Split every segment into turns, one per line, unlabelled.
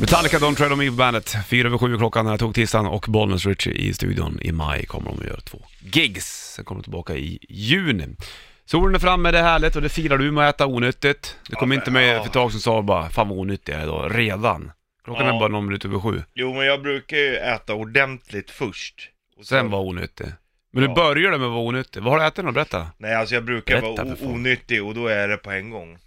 Metallica, Don't Tread On Me på bandet. Fyra över sju klockan den här tisdagen och Bollnäs Ritchie i studion. I maj kommer de att göra två gigs. Sen kommer de tillbaka i juni. Solen är framme, det är härligt och det firar du med att äta onyttigt. Det kom
Ja,
inte med
ja.
för ett tag sedan sa bara, fan vad onyttig jag är idag, redan. Klockan är
Ja.
bara någon minut över sju.
Jo men jag brukar ju äta ordentligt först. Och
Sen var onyttig. Men du
Ja.
började med att vara onyttig. Vad har du ätit då? Berätta.
Nej alltså jag brukar
Berätta
vara
för
o-
fan.
onyttig och då är det på en gång.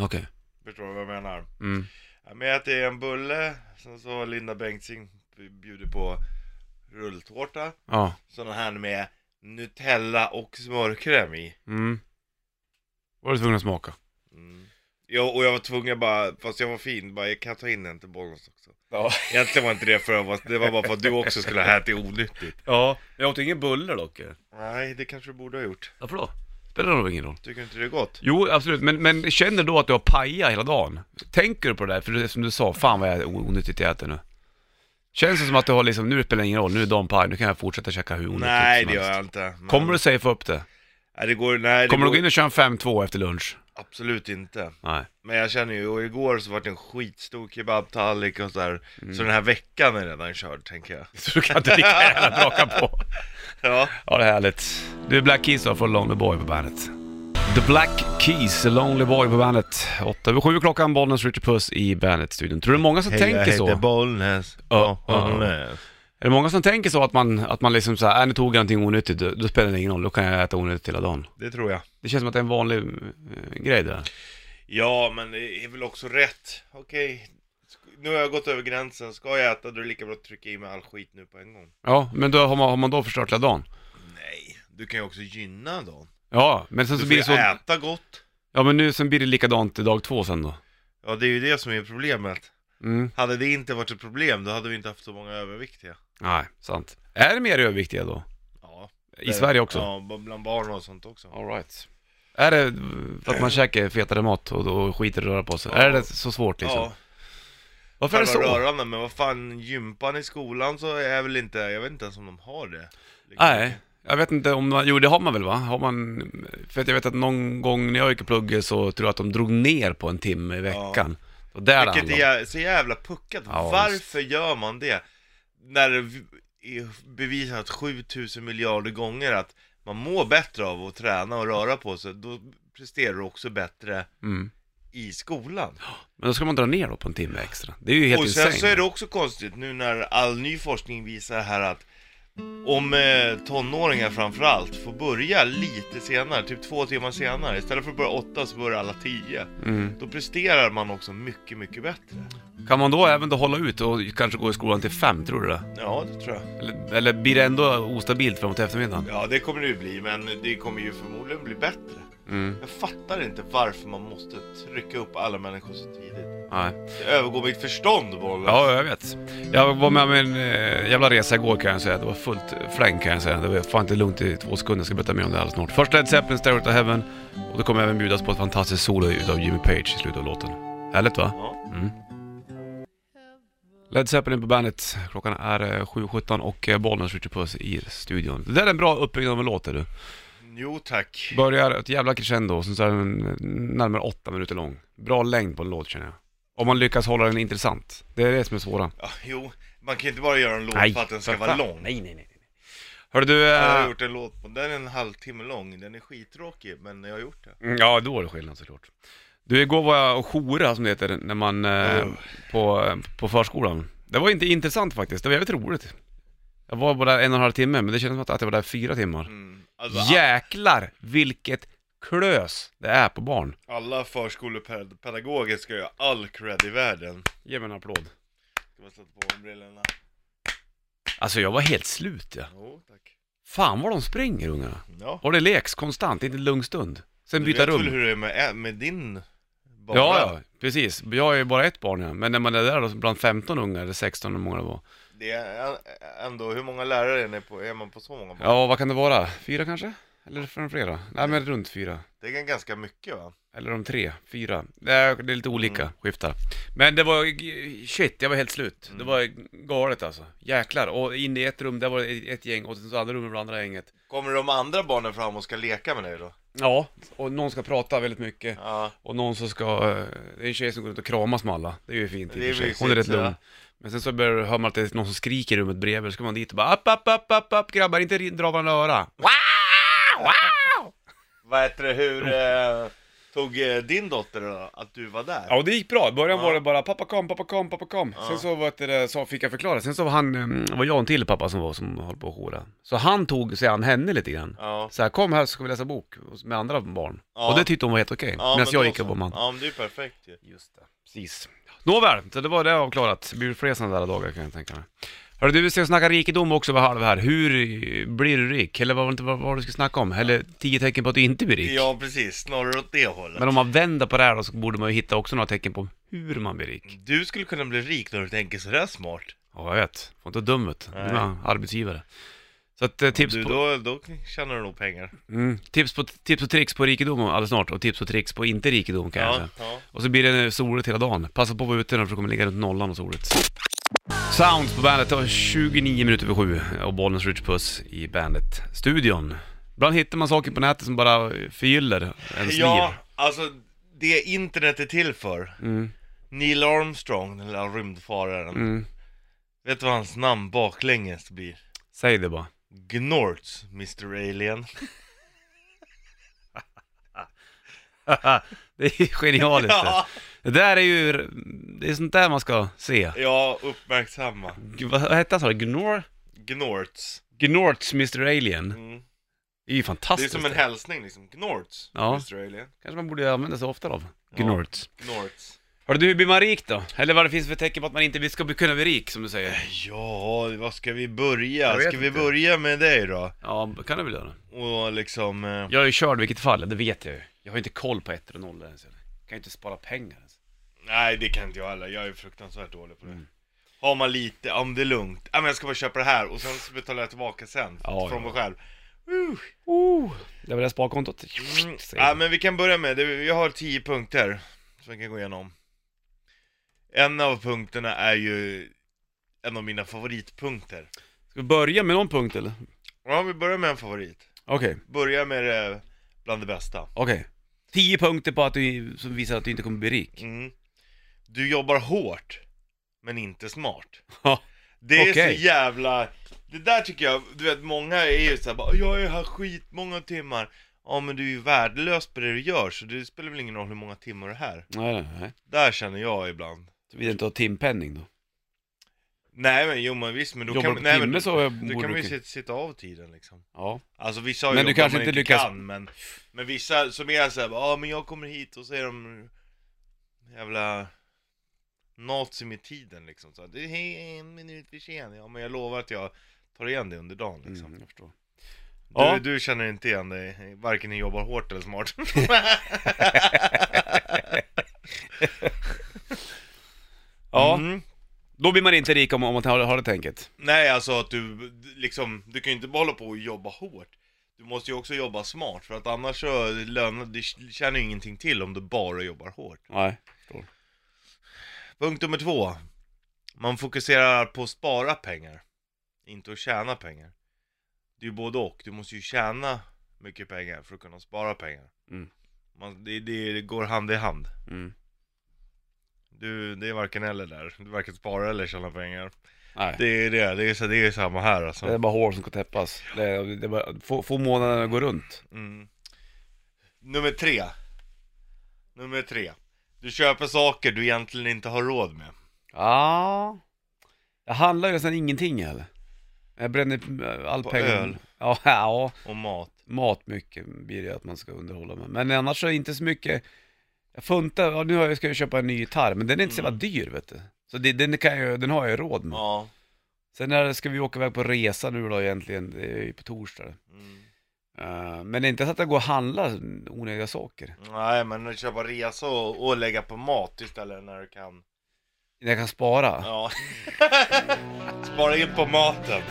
Okej.
Förstår du vad jag menar?
Mm.
Ja, men jag äter en bulle, sen så har Linda Bengtzing bjuder på rulltårta.
Ja.
Sådana här med Nutella och smörkräm i.
Mm. Var du tvungen att smaka?
Mm. Ja, och jag var tvungen bara, fast jag var fin, bara jag kan ta in en till Bollnäs också.
Ja.
Egentligen var inte det för att jag var- det var bara för att du också skulle ha ätit onyttigt.
Ja. Jag åt ingen buller dock.
Nej, det kanske du borde ha gjort.
Varför då? Spelar det nog ingen roll.
Tycker inte det är gott?
Jo, absolut. Men, men känner du att du har pajat hela dagen? Tänker du på det där? För det är som du sa, fan vad jag är onyttigt jag äter nu. Känns det som att du har liksom, nu spelar det ingen roll, nu är dagen paj, nu kan jag fortsätta käka hur onyttigt
Nej,
som
det gör
helst.
jag inte. Men-
Kommer du safea upp det?
Nej, det går, nej, det
Kommer du
går,
gå in och köra en 5-2 efter lunch?
Absolut inte.
Nej.
Men jag känner ju, och igår så var det en skitstor kebabtallrik och sådär.
Mm.
Så den här veckan är redan körd, tänker jag.
Så du kan inte lika gärna braka på.
Ja.
Ja, det är härligt. Du är Black Keys då, för Lonely Boy på bandet. The Black Keys, Lonely Boy på bandet. 8 över 7 klockan, Bollnäs Richard Puss i Bandet-studion. Tror du det är många som tänker så?
Bollnäs.
Ja, ja. Bollnäs. Är det många som tänker så att man, att man liksom såhär, äh, nu tog jag någonting onyttigt, då, då spelar det ingen roll, då kan jag äta onyttigt hela dagen.
Det tror jag.
Det känns som att det är en vanlig eh, grej det där.
Ja, men det är väl också rätt. Okej, sk- nu har jag gått över gränsen. Ska jag äta, då är det lika bra att trycka i mig all skit nu på en gång.
Ja, men då har man, har man då förstört hela dagen.
Nej, du kan ju också gynna dem.
Ja, men sen
Du
så
får
blir
ju
det så,
äta gott.
ja men nu sen blir det likadant i dag två sen då.
Ja, det är ju det som är problemet.
Mm.
Hade det inte varit ett problem, då hade vi inte haft så många överviktiga.
Nej, sant. Är det mer överviktiga då?
Ja.
I Sverige också?
Eh, Ja, b- bland barn och sånt också.
All right. Är det för att man käkar fetare mat och då skiter i att röra på sig?
Ja.
Är det så svårt liksom?
Ja,
Varför är det
själva
så?
rörande, men vad fan, gympan i skolan så är väl inte, jag vet inte ens om de har det. Liksom.
Nej, jag vet inte om man, jo det har man väl va? Har man, för att jag vet att någon gång när jag gick i plugget så tror jag att de drog ner på en timme i veckan. Och där handlar
Vilket
det om.
är så jävla puckat,
Ja,
varför gör man det? När det v- är bevisat 7000 miljarder gånger att man mår bättre av att träna och röra på sig, då presterar du också bättre
Mm.
i skolan.
Men då ska man dra ner då på en timme extra. Det är ju helt
och sen
insane.
så är det också konstigt nu när all ny forskning visar här att om eh, tonåringar framförallt får börja lite senare, typ två timmar senare, istället för att börja åtta så börjar alla tio.
Mm.
Då presterar man också mycket, mycket bättre.
Kan man då även då hålla ut och kanske gå i skolan till fem, tror du det?
Ja, det tror jag.
Eller, eller blir det ändå ostabilt framåt eftermiddagen?
Ja, det kommer det ju bli, men det kommer ju förmodligen bli bättre.
Mm.
Jag fattar inte varför man måste trycka upp alla människor så tidigt.
Nej.
Det övergår mitt förstånd, bollen.
Ja, jag vet. Jag var med om en eh, jävla resa igår kan jag säga. Det var fullt fläng kan jag säga. Det var fan inte lugnt i två sekunder. Jag ska berätta mer om det alldeles snart. Först Led Zeppelin, Stairway to Heaven. Och då kommer jag även bjudas på ett fantastiskt solo utav Jimmy Page i slutet av låten. Härligt va?
Ja.
Mm. Led Zeppelin på bandet. Klockan är eh, 7.17 och eh, Bollnäs skjuter puss i studion. Det där är en bra uppbyggnad av en låt är du.
Jo, tack.
Börjar ett jävla crescendo och sen så är den eh, närmare åtta minuter lång. Bra längd på en låt känner jag. Om man lyckas hålla den intressant. Det är det som är svåra.
Ja, jo, man kan ju inte bara göra en låt för att den ska vara
fan.
lång.
Nej, nej, nej. nej. Hörru du, eh,
Jag har gjort en låt på den, är en halvtimme lång, den är skittråkig men jag har gjort det.
mm, ja då är det skillnad såklart. Du, igår var jag och jourade som det heter, när man, eh,
Oh.
på, på förskolan. Det var inte intressant faktiskt, det var jävligt roligt. Jag var bara där en och en halv timme, men det kändes som att jag var där fyra timmar.
Mm. Alltså, a-
Jäklar vilket klös det är på barn.
Alla förskolepedagoger ska ju ha all cred i världen.
Ge mig en applåd.
Ska man sätta på mig brillorna?
Alltså jag var helt slut ja.
Jo, tack.
Fan vad de springer ungarna.
Ja.
Och det leks konstant, inte en lugn stund. Sen byta
Du vet
rum.
väl hur det är med, eh, med din bara?
Ja, ja, precis. Jag är ju bara ett barn ja. Men när man är där då, bland 15 ungar, eller 16 hur många det var.
Det är eh, ändå, hur många lärare är, ni på, är man på så många barn?
Ja, vad kan det vara? Fyra kanske? Eller från flera? Nej, men runt fyra.
Det är ganska mycket va?
Eller de tre, fyra. Det är, det är lite olika, skiftar. Men det var, g- shit, jag var helt slut. Det var galet alltså. Jäklar. Och in i ett rum, där var det ett gäng och sen så andra rummet var det andra gänget.
Kommer de andra barnen fram och ska leka med dig då?
Ja, och någon ska prata väldigt mycket.
Ja.
Och någon som ska, eh, det är en tjej som går runt och kramas med alla. Det är ju fint i och
Det är
för sig.
mysigt,
Hon är rätt lugn.
ja.
Men sen så börjar du höra att det är någon som skriker i rummet bredvid. Då ska man dit och bara upp, upp, upp, upp, upp grabbar, inte ri- dra varandra i öra. Wow, wow!
Vad heter det, hur eh, tog eh, din dotter då, att du var där?
Ja, och det gick bra. I början
Ja.
var det bara pappa kom, pappa kom, pappa kom.
Ja.
Sen så, var det, så fick jag förklara. Sen så var han, eh, var jag och en till pappa som var som höll på att hora. Så han tog sig an henne lite grann.
Ja,
Så här, kom här så ska vi läsa bok med andra barn.
Ja.
Och det tyckte hon var helt okej.
ja
Medan
men
jag
då
gick
så.
upp och man.
Ja, men det är ju perfekt ju.
Just det, precis. Nåväl, så det var det avklarat. Det blir väl fler sådana där dagar kan jag tänka mig. Hörru du, vi ska snacka rikedom också vid halv här. Hur eh, blir du rik? Eller vad var det vad var det du skulle snacka om? Eller tio tecken på att du inte blir rik?
Ja, precis. Snarare åt det hållet.
Men om man vänder på det här då så borde man ju hitta också några tecken på hur man blir rik.
Du skulle kunna bli rik när du tänker sådär smart.
Ja, jag vet. Får inte vara dum ut. Du
Nej.
är arbetsgivare. Så att, eh, tips,
Du,
på,
då, då tjänar du nog pengar.
mm, tips, på, tips och tricks på rikedom alldeles snart och tips och tricks på inte rikedom kan jag
Ja,
säga.
ja.
Och så blir det soligt hela dagen. Passa på att vara ute nu för det kommer ligga runt nollan och soligt. Sounds på bandet, det var 29 minuter över sju och Bollnäs Rich Puss i bandet-studion. Ibland hittar man saker på nätet som bara förgyller ens
ja
liv.
alltså det internet är till för.
Mm.
Neil Armstrong, den lilla rymdfararen.
Mm.
Vet du vad hans namn baklänges blir?
Säg det bara.
Gnorts, Mr Alien.
det är genialiskt
Ja,
det. Det där är ju, det är sånt där man ska se.
ja uppmärksamma.
Gud, Vad vad hette han sa du? Gnor?
Gnorts.
Gnorts Mr Alien.
Mm.
Det är ju
Det är
fantastiskt.
som en hälsning liksom. Gnorts,
Ja.
Mr Alien.
Kanske man borde använda sig oftare av.
Ja.
Gnorts.
Gnorts.
Hörru du, hur blir man rik då? Eller vad det finns för tecken på att man inte ska kunna bli rik, som du säger?
Ja, vad ska vi börja?
Jag vet
Ska vi
inte.
börja med dig då?
Ja, kan det väl göra.
Och liksom... eh,
Jag är ju körd i vilket fall, det vet jag ju. Jag har ju inte koll på ettor och nollor ens. Jag kan ju inte spara pengar ens.
Nej det kan inte jag heller, jag är fruktansvärt dålig på det Har man lite, ja men det är lugnt, ja men jag ska bara köpa det här och sen så betalar jag tillbaka sen
Ja,
från
ja.
mig själv Uh.
Oh, det var det sparkontot.
Mm.
Säger
Ja
jag.
men vi kan börja med, det- jag har tio punkter som vi kan gå igenom En av punkterna är ju en av mina favoritpunkter
Ska vi börja med någon punkt eller?
Ja vi börjar med en favorit,
Okej,
börja med det bland det bästa
okej. Tio punkter på att du, som visar att du inte kommer bli rik.
mm. Du jobbar hårt, men inte smart
Ja.
Det är
Okej.
så jävla... Det där tycker jag, du vet många är ju såhär bara, jag är här skitmånga timmar Ja men du är ju värdelös på det du gör så det spelar väl ingen roll hur många timmar du är här
Nej, nej, nej.
Där känner jag ibland
Såvida du inte har timpenning då.
Nej men jo men visst men då
Jobbar
kan
du på
nej,
timme
men,
så
Då
borde
kan
du...
man ju sit- sitta av tiden liksom
Ja.
Alltså vissa har
Men
men
du
jobb
kanske
man
inte
inte
lyckas-
kan men, men vissa som är såhär bara, ja men jag kommer hit och så är de jävla nazi med tiden liksom så, det är en minut för sen, ja men jag lovar att jag tar igen det under dagen liksom
Mm, jag förstår.
Du,
Ja.
du känner inte igen dig, varken ni jobbar hårt eller smart.
Ja,
Mm.
då blir man inte rik om, om man har, har det tänket.
Nej, alltså att du liksom, du kan ju inte bara hålla på och jobba hårt. Du måste ju också jobba smart, för att annars så lönar, det tjänar ju ingenting till om du bara jobbar hårt.
Nej.
Punkt nummer två. Man fokuserar på att spara pengar, inte att tjäna pengar. Det är ju både och, du måste ju tjäna mycket pengar för att kunna spara pengar.
Mm.
Man, det, det går hand i hand.
Mm.
Du, det är varken eller där. Du varken sparar eller tjänar pengar.
Nej.
Det är det, det är, så, det är samma här alltså.
Det är bara hår som ska täppas. Det är, det är bara, få, få månaderna gå runt.
Mm. Nummer tre. Nummer tre. Du köper saker du egentligen inte har råd med.
Ja. Jag handlar ju nästan ingenting heller. Jag bränner eh, all
På
pengar.
öl?
Ja, ja,
Och mat.
mat mycket blir det att man ska underhålla med. Men annars så är det inte så mycket. Jag funtar, ja, nu har jag- ska jag köpa en ny gitarr, men den är inte så jävla dyr vet du. Så det, den, kan jag, den har jag råd med.
Mm. Ja.
Sen när ska vi åka iväg på resa nu då egentligen, det är ju på torsdag.
Mm.
Eh, men det är inte så att jag går och handlar onödiga saker.
Nej men att köpa resa och, och lägga på mat istället när du kan.
Jag kan spara.
Ja. Spara in på maten.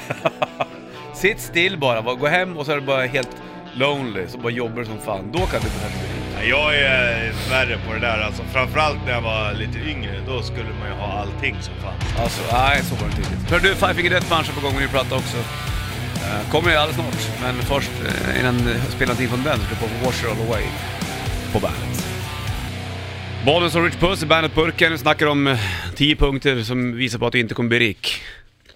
Sitt still bara, bara gå hem och så är du bara helt lonely, så bara jobbar du som fan. Då kan du kanske bli rik.
Ja, Jag är värre på det där alltså. Framförallt när jag var lite yngre. Då skulle man ju ha allting som fanns.
Alltså, nej så var det inte riktigt. Hör du, Five Finger Death Punch är på gång med ny platta också. Eh, Kommer ju alldeles snart, men först eh, innan eh, spelade in från bandet skulle på Washer All Away på bandet. Bollens och Rich Puss i bandet-burken snackar om eh, 10 punkter som visar på att du inte kommer bli rik.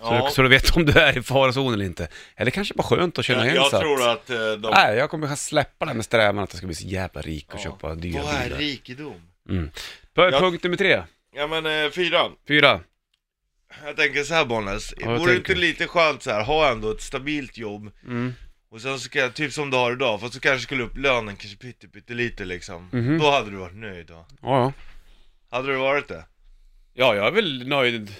Så,
Ja.
du, så du vet om du är i farozonen eller inte. Eller kanske bara skönt att känna
Jag,
igen
jag
så
tror att eh, de...
Nej, jag kommer kanske släppa det här med strävan att jag ska bli så jävla rik och
Ja.
köpa dyra
Vad är
bilar.
rikedom?
Mm. P-
Jag-
Punkt nummer tre,
Ja men eh, fyran.
fyra.
Jag tänker så här Bollnäs,
Ja, jag
vore det
tänker.
inte lite skönt så här, ha ändå ett stabilt jobb
Mm.
och sen så kan, typ som du har idag, fast så kanske skulle upp lönen kanske pytte, pyttelite liksom.
Mhm.
Då hade du varit nöjd då.
Ja, ja.
Hade du varit det?
Ja, jag är väl nöjd.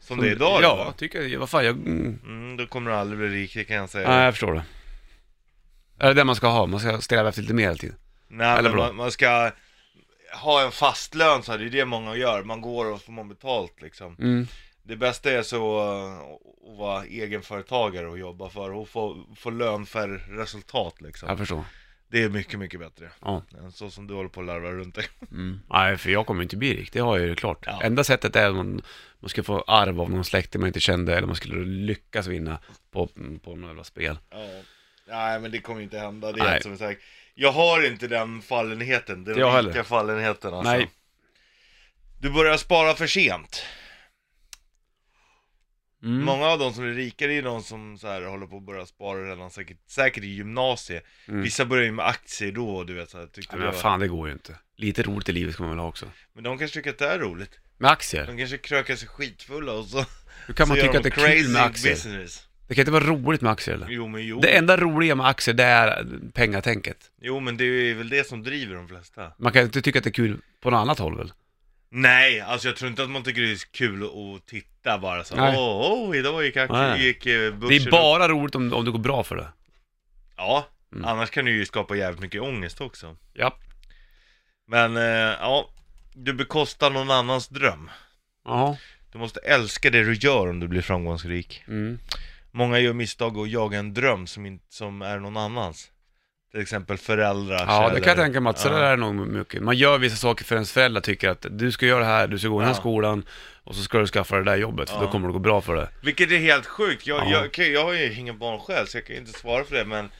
Som det är idag
Ja,
då?
jag tycker jag. Vad fan, jag... Mm.
Mm, då kommer du aldrig bli rik, det kan jag säga.
Nej, jag förstår det. Är det det man ska ha? Man ska sträva efter lite mer hela tiden.
Nej
Eller
men
bra.
man, man ska ha en fast lön så här, det är det många gör, man går och får man betalt liksom
Mm.
Det bästa är så eh, att vara egenföretagare och jobba för och få, få lön för resultat liksom
Jag förstår.
Det är mycket, mycket bättre
Ja.
än så som du håller på och larvar runt dig
Nej, för jag kommer inte bli rik. Det har jag ju klart.
Mm. Ja.
Enda sättet är att man, man ska få arv av någon släkting man inte kände eller man skulle lyckas vinna på, på några jävla spel.
Ja Nej men det kommer inte hända, det
Nej.
är helt som är säkert Jag har inte den fallenheten, den
Jag heller.
rika fallenheten alltså
Nej.
Du börjar spara för sent
Mm.
Många av de som är rikare är de som så här, håller på att börja spara redan säkert, säkert i gymnasiet
Mm.
Vissa börjar ju med aktier då och du vet så här, tyckte
Nej, men
det
vad
var-
fan, det går ju inte. Lite roligt i livet ska man väl ha också.
men de kanske tycker att det är roligt
Med aktier?
De kanske krökar sig skitfulla och så
Hur kan man
så gör
tycka
de
att det är
crazy
kul med aktier?
business.
Det kan inte vara roligt med aktier eller?
Jo men jo,
Det enda roliga med aktier, det är pengatänket.
jo men det är väl det som driver de flesta
Man kan inte tycka att det är kul på något annat håll väl?
Nej, alltså jag tror inte att man tycker det är kul att titta bara så
Nej.
åh, oh, idag gick aktier,
Nej.
gick eh, börsen
Det är
upp."
bara roligt om, om det går bra för det.
Ja,
Mm.
annars kan det ju skapa jävligt mycket ångest också
Ja.
Men, eh, ja, du bekostar någon annans dröm
Jaha.
Du måste älska det du gör om du blir framgångsrik.
Mm.
Många gör misstag och jagar en dröm som, in, som är någon annans. Till exempel föräldrar,
Ja, det kan jag
källor.
tänka mig att så
Ja.
där är nog mycket. Man gör vissa saker för ens föräldrar tycker att du ska göra det här, du ska gå i den här
Ja.
skolan och så ska du skaffa det där jobbet för
Ja.
då kommer det gå bra för det.
Vilket är helt sjukt. Jag,
Ja.
jag, okej, jag har ju inga barn själv så jag kan inte svara för det men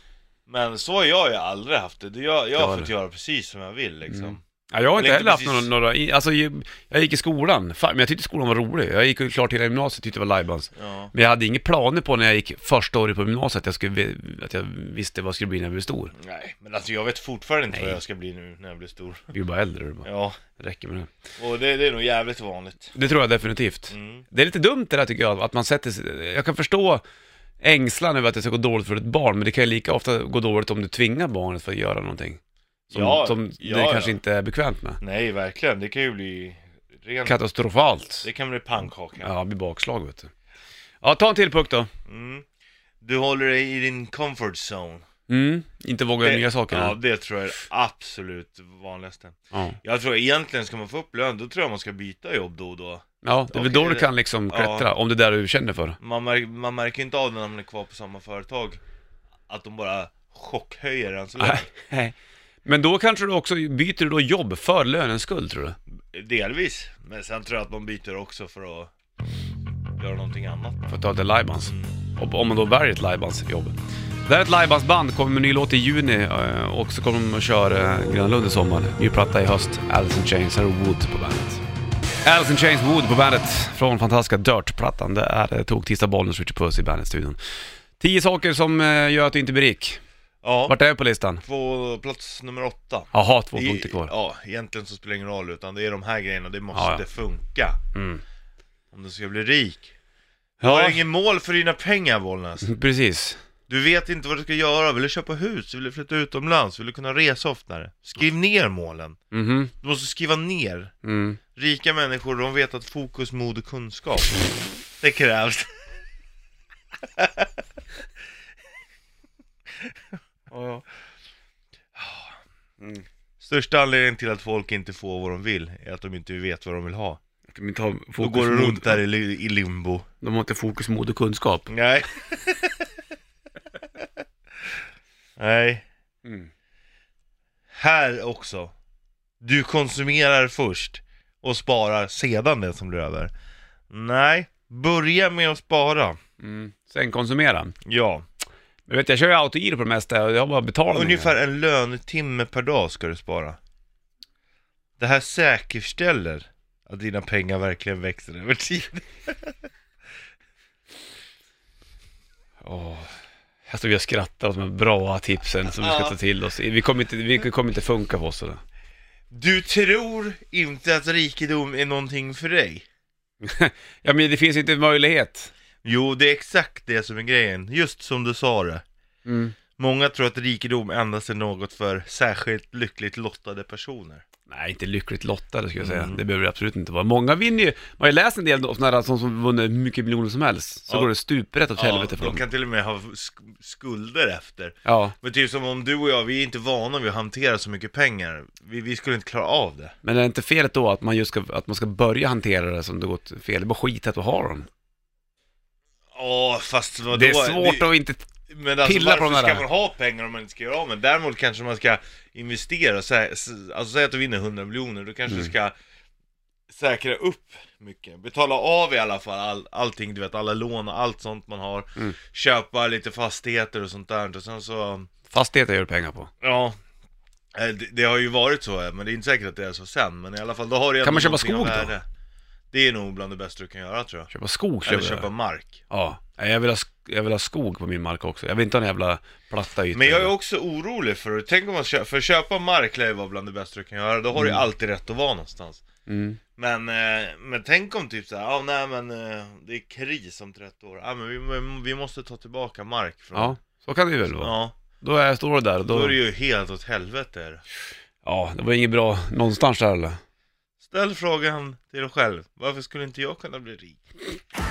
men så har jag ju aldrig haft det. Det- Jag, jag
Det har
har fått
du.
göra precis som jag vill liksom.
Mm. Ja, jag har inte
Eller
heller
inte
haft några,
precis-
några i- alltså ju- jag gick i skolan, fan, men jag tyckte skolan var rolig. Jag gick ju klart hela gymnasiet, tyckte det var lajbans.
Ja.
Men jag hade inga planer på när jag gick första året på gymnasiet att jag, skulle, vi- att jag visste vad jag skulle bli när jag blev stor.
Nej, men alltså jag vet fortfarande inte
Nej.
vad jag ska bli nu när jag blir stor.
Vi är bara äldre, det bara.
Ja,
räcker med det.
och det, det är nog jävligt vanligt.
Det tror jag definitivt.
Mm.
Det är lite dumt det där tycker jag, att man sätter sig, jag kan förstå ängslan över att det ska gå dåligt för ett barn, men det kan ju lika ofta gå dåligt om du tvingar barnet för att göra någonting. Som,
Ja,
som det
ja,
kanske
ja.
inte är bekvämt med.
Nej, verkligen. Det kan ju bli rent...
Katastrofalt.
Det kan bli pannkaka.
Ja, det blir bakslag vet du. Ja, ta en till puck då.
Mm. Du håller dig i din comfort zone.
Mm, inte våga göra nya saker.
Ja,
Ja.
det tror jag är det absolut vanligaste.
Ja.
Jag tror egentligen ska man få upp lön, då tror jag man ska byta jobb då och då.
ja, det är väl
Okej,
då du
det-
kan liksom
ja.
klättra, om det är det du känner för.
Man, mär, man märker inte av det när man är kvar på samma företag, att de bara chockhöjer ens lön.
Nej. Men då kanske du också byter du då jobb för lönens skull tror du?
Delvis, men sen tror jag att man byter också för att göra någonting annat.
För att ta ett lajbans. Och Om man då väljer ett lajbansjobb. Det här är ett lajbansband, kommer med en ny låt i juni eh, och så kommer de att köra eh, Gröna Lund i sommar. Ny platta i höst, Alice in Chains, här är Wood på bandet. Alice in Chains Wood på bandet från fantastiska Dirt-plattan. Det är eh, tog tisdag bollen Richard Puss i bandet-studion. Tio saker som eh, gör att du inte blir rik.
Ja,
Vart är jag på listan?
på plats nummer åtta.
Jaha, två
I-
punkter kvar.
Ja, egentligen så spelar det ingen roll, utan det är de här grejerna, det måste
ja.
funka.
Mm.
Om du ska bli rik. Du har
Ja,
ingen mål för dina pengar Bollnäs.
precis.
Du vet inte vad du ska göra, vill du köpa hus, vill du flytta utomlands, vill du kunna resa oftare? Skriv ner målen.
Mhm.
Du måste skriva ner.
Mm.
Rika människor, de vet att fokus, mod och kunskap, det krävs. Ja.
Mm.
Största anledningen till att folk inte får vad de vill är att de inte vet vad de vill ha. Då
fokus
går de runt där i, li- i limbo.
De har inte fokus, mod och kunskap.
Nej. Nej. Här också. Du konsumerar först och sparar sedan det som blir över. Nej, börja med att spara.
Mm. Sen konsumera.
Ja.
Men vet, jag kör ju autogiro på det mesta och jag har bara betalningar.
Ungefär en lönetimme per dag ska du spara. Det här säkerställer att dina pengar verkligen växer över tid.
Åh. Här står vi och skrattar åt de här bra tipsen som vi ska
Ja.
ta till oss. Vi kommer inte, vi kommer inte funka på oss eller?
Du tror inte att rikedom är någonting för dig?
Ja men det finns inte möjlighet.
Jo, det är exakt det som är grejen. Just som du sa det. Många tror att rikedom endast är något för särskilt lyckligt lottade personer.
Nej, inte lyckligt lottade skulle jag säga.
Mm.
Det behöver det absolut inte vara. Många vinner ju, man har ju läst en del om sådana här som, som vunnit hur mycket miljoner som helst. Så
Ja.
går det stuprätt åt helvete för
de
dem.
kan till och med ha sk- skulder efter.
Ja,
Men typ som om du och jag, vi är inte vana vid att hantera så mycket pengar. Vi, vi skulle inte klara av det.
men är det inte felet då att man just ska, att man ska börja hantera det som det gått fel? Det är bara skit att du har dem.
Ja, fast vadå?
det är svårt
Det-
att inte...
Men alltså
pilla på
varför
de där.
ska man ha pengar om man inte ska göra av med? Däremot kanske man ska investera. Sä- s- Alltså säg att du vinner 100 miljoner, då kanske
Mm.
du ska säkra upp mycket. Betala av i alla fall all, allting, du vet alla lån och allt sånt man har.
Mm.
Köpa lite fastigheter och sånt där. Och sen så,
Fastigheter gör du pengar på.
ja. eh, Det, det har ju varit så, eh, men det är inte säkert att det är så sen. Men i alla fall, då har du
Kan man
ändå
köpa
någonting av
skog då?
värde. Det är nog bland det bästa du kan göra tror jag.
Köpa skog
Eller
köper
köpa
jag.
mark.
Ja. Nej, Jag vill, ha, sk- jag vill ha skog på min mark också. Jag vill inte ha en jävla platta yta.
Men jag är också orolig för Tänk om man köper, för att köpa mark lär ju vara bland det bästa du kan göra, då har du ju alltid rätt att vara någonstans.
Mm.
Men, eh, men tänk om typ såhär, ja nej men eh, det är kris om 30 år, ja men vi, men vi måste ta tillbaka mark från...
Ja, så kan det ju väl vara.
ja.
Då är, står du där och
Då
då...
är det ju helt åt helvete. är det.
Ja, det var inget bra någonstans där eller?
Ställ frågan till dig själv, varför skulle inte jag kunna bli rik?